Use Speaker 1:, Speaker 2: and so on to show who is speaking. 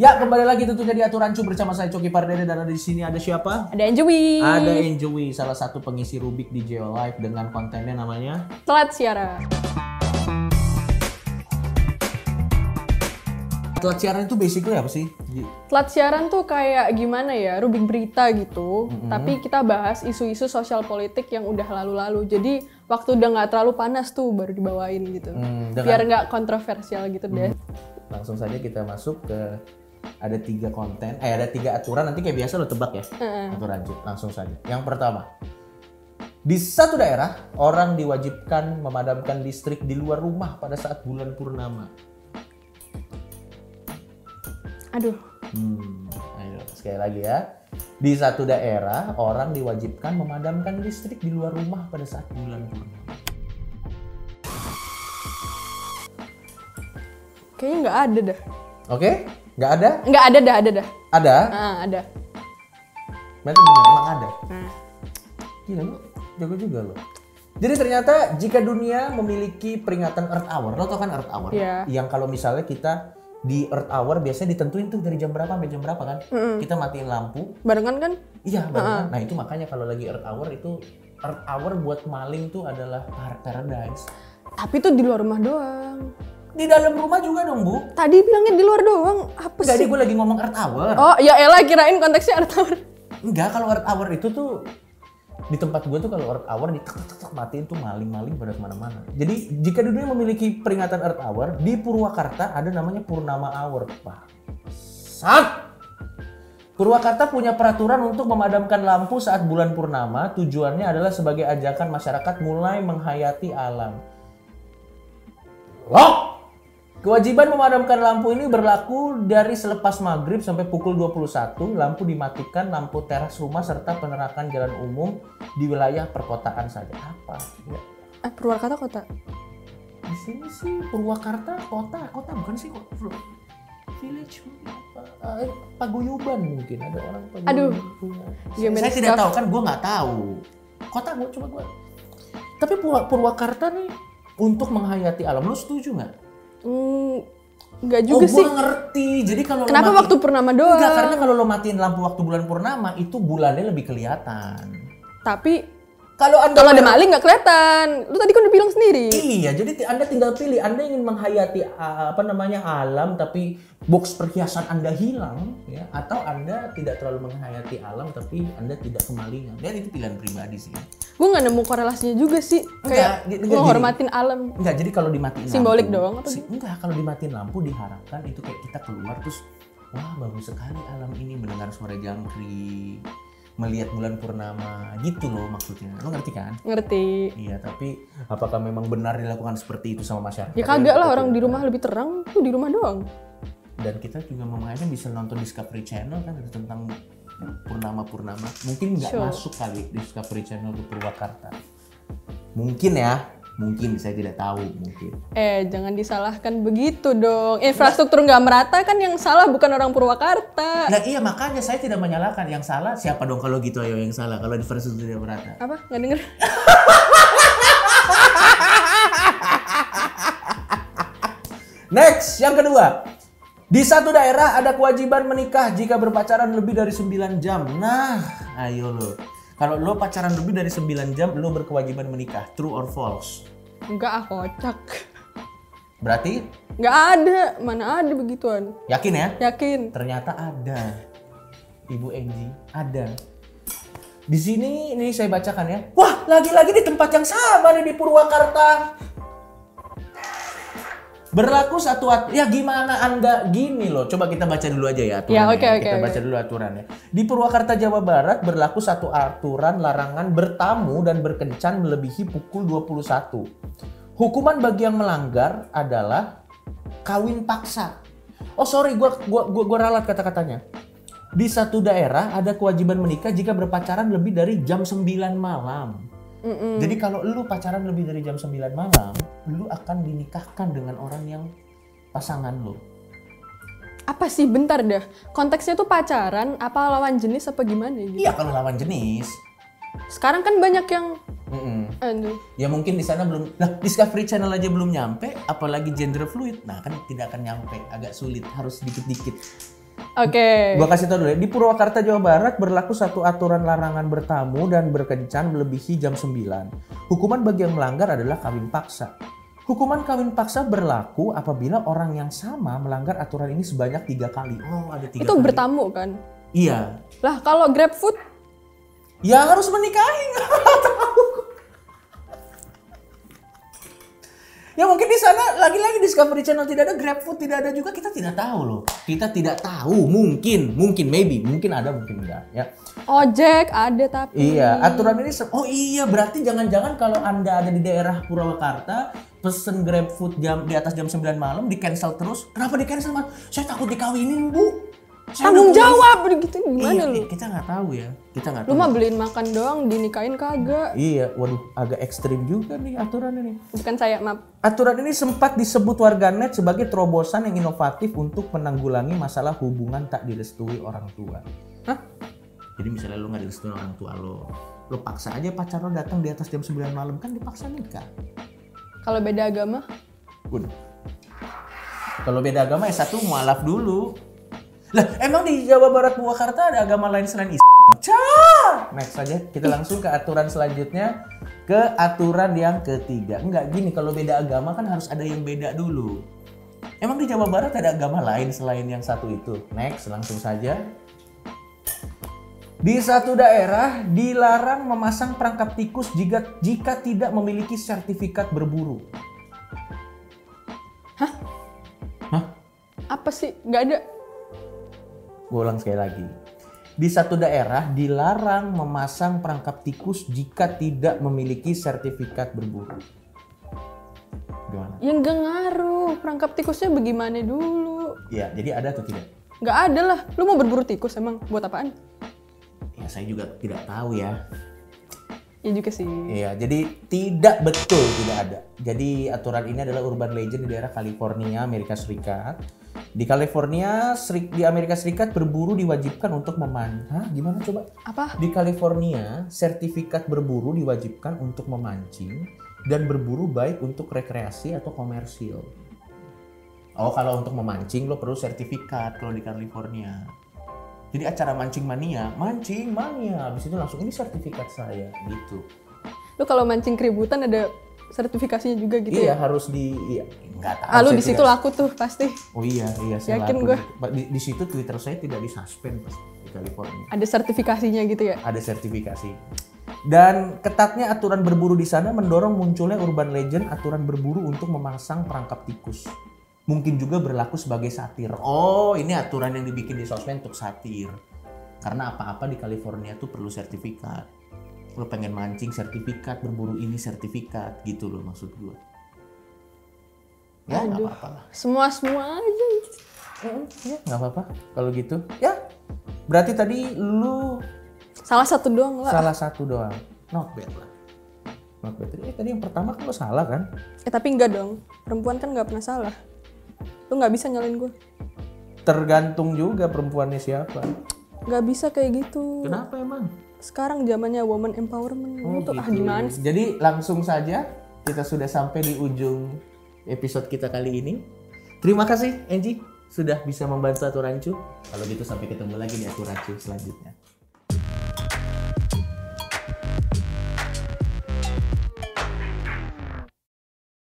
Speaker 1: Ya kembali lagi tentunya di aturan cu bersama saya Coki Pardede dan ada di sini ada siapa?
Speaker 2: Ada Anjui.
Speaker 1: Ada Enjoy, salah satu pengisi Rubik di Geo Live dengan kontennya namanya
Speaker 2: Telat siara.
Speaker 1: Telat siaran itu basically apa sih? Ji?
Speaker 2: Telat siaran tuh kayak gimana ya, rubik berita gitu. Tapi kita bahas isu-isu sosial politik yang udah lalu-lalu. Jadi waktu udah nggak terlalu panas tuh baru dibawain gitu.
Speaker 1: Hmm, dengan-
Speaker 2: Biar nggak kontroversial gitu deh.
Speaker 1: Langsung saja kita masuk ke ada tiga konten, eh ada tiga aturan nanti kayak biasa lo tebak ya
Speaker 2: Heeh.
Speaker 1: aturan cu langsung saja. Yang pertama, di satu daerah orang diwajibkan memadamkan listrik di luar rumah pada saat bulan purnama.
Speaker 2: Aduh,
Speaker 1: Hmm, ayo sekali lagi ya. Di satu daerah, orang diwajibkan memadamkan listrik di luar rumah pada saat bulan purnama.
Speaker 2: kayaknya nggak ada dah.
Speaker 1: Oke? Nggak ada?
Speaker 2: Nggak ada dah, ada dah.
Speaker 1: Ada?
Speaker 2: Ah, ada.
Speaker 1: Berarti benar, emang ada.
Speaker 2: Nah,
Speaker 1: Gila lu, jago juga lo. Jadi ternyata jika dunia memiliki peringatan Earth Hour, lo tau kan Earth Hour?
Speaker 2: Iya.
Speaker 1: Yang kalau misalnya kita di Earth Hour biasanya ditentuin tuh dari jam berapa sampai jam berapa kan? Kita matiin lampu.
Speaker 2: barengan kan?
Speaker 1: Iya, barengan. Nah itu makanya kalau lagi Earth Hour itu Earth Hour buat maling tuh adalah par- paradise.
Speaker 2: Tapi tuh di luar rumah doang.
Speaker 1: Di dalam rumah juga dong, Bu.
Speaker 2: Tadi bilangnya di luar doang. Apa
Speaker 1: Enggak,
Speaker 2: sih?
Speaker 1: ini gue lagi ngomong Earth Hour.
Speaker 2: Oh, ya elah kirain konteksnya Earth Hour.
Speaker 1: Enggak, kalau Earth Hour itu tuh di tempat gue tuh kalau Earth Hour di tek, tek, tek, matiin tuh maling-maling pada kemana-mana. Jadi jika dunia memiliki peringatan Earth Hour, di Purwakarta ada namanya Purnama Hour, Pak. Sat! Purwakarta punya peraturan untuk memadamkan lampu saat bulan purnama. Tujuannya adalah sebagai ajakan masyarakat mulai menghayati alam. Loh! Kewajiban memadamkan lampu ini berlaku dari selepas maghrib sampai pukul 21. Lampu dimatikan, lampu teras rumah, serta penerakan jalan umum di wilayah perkotaan saja. Apa? Ya.
Speaker 2: Eh, Purwakarta kota.
Speaker 1: Di sini sih Purwakarta kota, kota bukan sih kok. Bro. Village apa? Eh, Paguyuban mungkin ada orang Paguyuban.
Speaker 2: Aduh.
Speaker 1: punya.
Speaker 2: Iya,
Speaker 1: Saya
Speaker 2: miris
Speaker 1: tidak
Speaker 2: sekali.
Speaker 1: tahu kan gue nggak tahu. Kota gue cuma gue. Tapi Purwa- Purwakarta nih untuk menghayati alam lu setuju nggak?
Speaker 2: Hmm, nggak
Speaker 1: Mm. Oh,
Speaker 2: juga
Speaker 1: gua
Speaker 2: sih.
Speaker 1: ngerti. Jadi kalau lo
Speaker 2: Kenapa
Speaker 1: matiin-
Speaker 2: waktu purnama doang?
Speaker 1: Enggak, karena kalau lo matiin lampu waktu bulan purnama itu bulannya lebih kelihatan.
Speaker 2: Tapi
Speaker 1: Kalau Anda
Speaker 2: kalau ada maling nggak kelihatan. Lu tadi kan udah bilang sendiri.
Speaker 1: Iya, jadi ti- Anda tinggal pilih. Anda ingin menghayati uh, apa namanya alam tapi box perhiasan Anda hilang ya atau Anda tidak terlalu menghayati alam tapi Anda tidak kemalingan. Dan itu pilihan pribadi sih.
Speaker 2: Gue nggak nemu korelasinya juga sih. Kayak
Speaker 1: Enggak, enggak
Speaker 2: menghormatin alam.
Speaker 1: Enggak, jadi kalau dimatiin
Speaker 2: Simbolik
Speaker 1: lampu,
Speaker 2: doang atau
Speaker 1: si- enggak, kalau dimatiin lampu diharapkan itu kayak kita keluar terus wah bagus sekali alam ini mendengar suara jangkrik, melihat bulan purnama gitu loh maksudnya. Lo ngerti kan?
Speaker 2: Ngerti.
Speaker 1: Iya, tapi apakah memang benar dilakukan seperti itu sama masyarakat?
Speaker 2: Ya kagak lah orang di rumah lebih terang tuh di rumah doang.
Speaker 1: Dan kita juga memangnya bisa nonton Discovery Channel kan ada tentang purnama-purnama. Mungkin nggak
Speaker 2: Sure.
Speaker 1: masuk kali Discovery Channel ke Purwakarta. Mungkin ya, mungkin saya tidak tahu mungkin.
Speaker 2: Eh jangan disalahkan begitu dong. Infrastruktur nggak merata kan yang salah bukan orang Purwakarta.
Speaker 1: Nah iya makanya saya tidak menyalahkan yang salah siapa dong kalau gitu ayo yang salah kalau infrastruktur tidak merata.
Speaker 2: Apa nggak denger?
Speaker 1: Next yang kedua di satu daerah ada kewajiban menikah jika berpacaran lebih dari 9 jam. Nah ayo lo kalau lo pacaran lebih dari 9 jam lo berkewajiban menikah true or false?
Speaker 2: Enggak ah kocak.
Speaker 1: Berarti
Speaker 2: Nggak ada mana ada begituan.
Speaker 1: yakin ya?
Speaker 2: Yakin.
Speaker 1: Ternyata ada. Ibu Angie, ada. Di sini ini saya bacakan ya. Wah, lagi-lagi di tempat yang sama nih di Purwakarta. Berlaku satu at- ya gimana Anda gini loh. Coba kita baca dulu aja ya aturannya.
Speaker 2: Ya, oke, oke,
Speaker 1: kita
Speaker 2: oke.
Speaker 1: baca dulu aturannya. Di Purwakarta Jawa Barat berlaku satu aturan larangan bertamu dan berkencan melebihi pukul 21. Hukuman bagi yang melanggar adalah kawin paksa. Oh sorry, gua gua gua, gua ralat kata-katanya. Di satu daerah ada kewajiban menikah jika berpacaran lebih dari jam 9 malam.
Speaker 2: Mm-mm.
Speaker 1: Jadi kalau lu pacaran lebih dari jam 9 malam, lu akan dinikahkan dengan orang yang pasangan lu.
Speaker 2: Apa sih bentar dah. Konteksnya tuh pacaran apa lawan jenis apa gimana gitu.
Speaker 1: Iya kalau lawan jenis.
Speaker 2: Sekarang kan banyak yang
Speaker 1: Mm-mm.
Speaker 2: aduh.
Speaker 1: Ya mungkin di sana belum, lah Discovery Channel aja belum nyampe, apalagi gender fluid. Nah kan tidak akan nyampe, agak sulit, harus sedikit-dikit.
Speaker 2: Oke.
Speaker 1: Gua kasih tau dulu ya. Di Purwakarta Jawa Barat berlaku satu aturan larangan bertamu dan berkencan melebihi jam 9. Hukuman bagi yang melanggar adalah kawin paksa. Hukuman kawin paksa berlaku apabila orang yang sama melanggar aturan ini sebanyak tiga kali. Oh, ada tiga
Speaker 2: Itu
Speaker 1: kali.
Speaker 2: bertamu kan?
Speaker 1: Iya.
Speaker 2: Lah kalau grab food
Speaker 1: Ya harus menikahi. Tahu. ya mungkin di sana lagi-lagi Discovery Channel tidak ada GrabFood, tidak ada juga kita tidak tahu loh. Kita tidak tahu, mungkin, mungkin maybe, mungkin ada, mungkin enggak ya.
Speaker 2: ojek ada tapi.
Speaker 1: Iya, aturan ini se- oh iya berarti jangan-jangan kalau Anda ada di daerah Purwakarta pesen GrabFood jam di atas jam 9 malam di cancel terus. Kenapa di cancel, Mas? Saya takut dikawinin, Bu. Saya
Speaker 2: Tanggung
Speaker 1: udah punya-
Speaker 2: jawab gitu
Speaker 1: Iya,
Speaker 2: gimana lu?
Speaker 1: iya, kita nggak tahu ya. Kita nggak
Speaker 2: Lu
Speaker 1: tahu.
Speaker 2: mah beliin makan doang dinikahin kagak.
Speaker 1: Iya, waduh agak ekstrim juga nih aturan ini.
Speaker 2: Bukan saya maaf.
Speaker 1: Aturan ini sempat disebut warganet sebagai terobosan yang inovatif untuk menanggulangi masalah hubungan tak direstui orang tua. Hah? Jadi misalnya lo nggak direstui orang tua lo, lo paksa aja pacar lo datang di atas jam 9 malam kan dipaksa nikah.
Speaker 2: Kalau beda agama
Speaker 1: Waduh. Kalau beda agama ya satu mualaf dulu. Lah emang di Jawa Barat Purwakarta ada agama lain selain Islam? Cah! Next saja kita langsung ke aturan selanjutnya ke aturan yang ketiga. Enggak gini kalau beda agama kan harus ada yang beda dulu. Emang di Jawa Barat ada agama lain selain yang satu itu? Next langsung saja. Di satu daerah dilarang memasang perangkap tikus jika jika tidak memiliki sertifikat berburu.
Speaker 2: apa sih? Gak ada.
Speaker 1: Gue ulang sekali lagi. Di satu daerah dilarang memasang perangkap tikus jika tidak memiliki sertifikat berburu. Gimana?
Speaker 2: Yang gak Ya ngaruh. Perangkap tikusnya bagaimana dulu?
Speaker 1: Ya, jadi ada atau tidak?
Speaker 2: Gak ada lah. Lu mau berburu tikus emang buat apaan?
Speaker 1: Ya, saya juga tidak tahu ya.
Speaker 2: Ya juga sih.
Speaker 1: Iya, jadi tidak betul tidak ada. Jadi aturan ini adalah urban legend di daerah California, Amerika Serikat. Di California, seri- di Amerika Serikat berburu diwajibkan untuk meman. Hah, gimana coba?
Speaker 2: Apa?
Speaker 1: Di California, sertifikat berburu diwajibkan untuk memancing dan berburu baik untuk rekreasi atau komersil. Oh, kalau untuk memancing lo perlu sertifikat kalau di California. Jadi acara mancing mania, mancing mania, habis itu langsung ini sertifikat saya gitu.
Speaker 2: Lu kalau mancing keributan ada sertifikasinya juga gitu
Speaker 1: iya,
Speaker 2: ya?
Speaker 1: harus di iya, nggak tahu.
Speaker 2: Ah, lu
Speaker 1: saya
Speaker 2: di situ
Speaker 1: tidak-
Speaker 2: laku tuh pasti.
Speaker 1: Oh iya, iya saya
Speaker 2: Yakin
Speaker 1: laku.
Speaker 2: gua.
Speaker 1: Di, di situ Twitter saya tidak disuspend pas di California.
Speaker 2: Ada sertifikasinya gitu ya?
Speaker 1: ada sertifikasi. Dan ketatnya aturan berburu di sana mendorong munculnya urban legend aturan berburu untuk memasang perangkap tikus. Mungkin juga berlaku sebagai satir. Oh, ini aturan yang dibikin di sosmed untuk satir. Karena apa-apa di California tuh perlu sertifikat. Lo pengen mancing sertifikat, berburu ini sertifikat gitu loh maksud gue. Ya, nggak
Speaker 2: Aduh.
Speaker 1: apa-apa lah.
Speaker 2: Semua-semua aja.
Speaker 1: Ya, nggak apa-apa kalau gitu. Ya, berarti tadi lu
Speaker 2: Salah satu doang lah.
Speaker 1: salah satu doang not bad lah not bad eh tadi yang pertama kan lo salah kan
Speaker 2: Eh tapi enggak dong. Perempuan kan nggak pernah salah. Lu nggak bisa nyalain gue.
Speaker 1: tergantung juga perempuannya siapa
Speaker 2: Nggak bisa kayak gitu.
Speaker 1: kenapa emang
Speaker 2: Sekarang zamannya woman empowerment. Lu tuh ah
Speaker 1: gitu.
Speaker 2: gimana sih?
Speaker 1: jadi langsung saja kita sudah sampai di ujung episode kita kali ini terima kasih Angie sudah bisa membantu aturan cu kalau gitu sampai ketemu lagi di aturan cu selanjutnya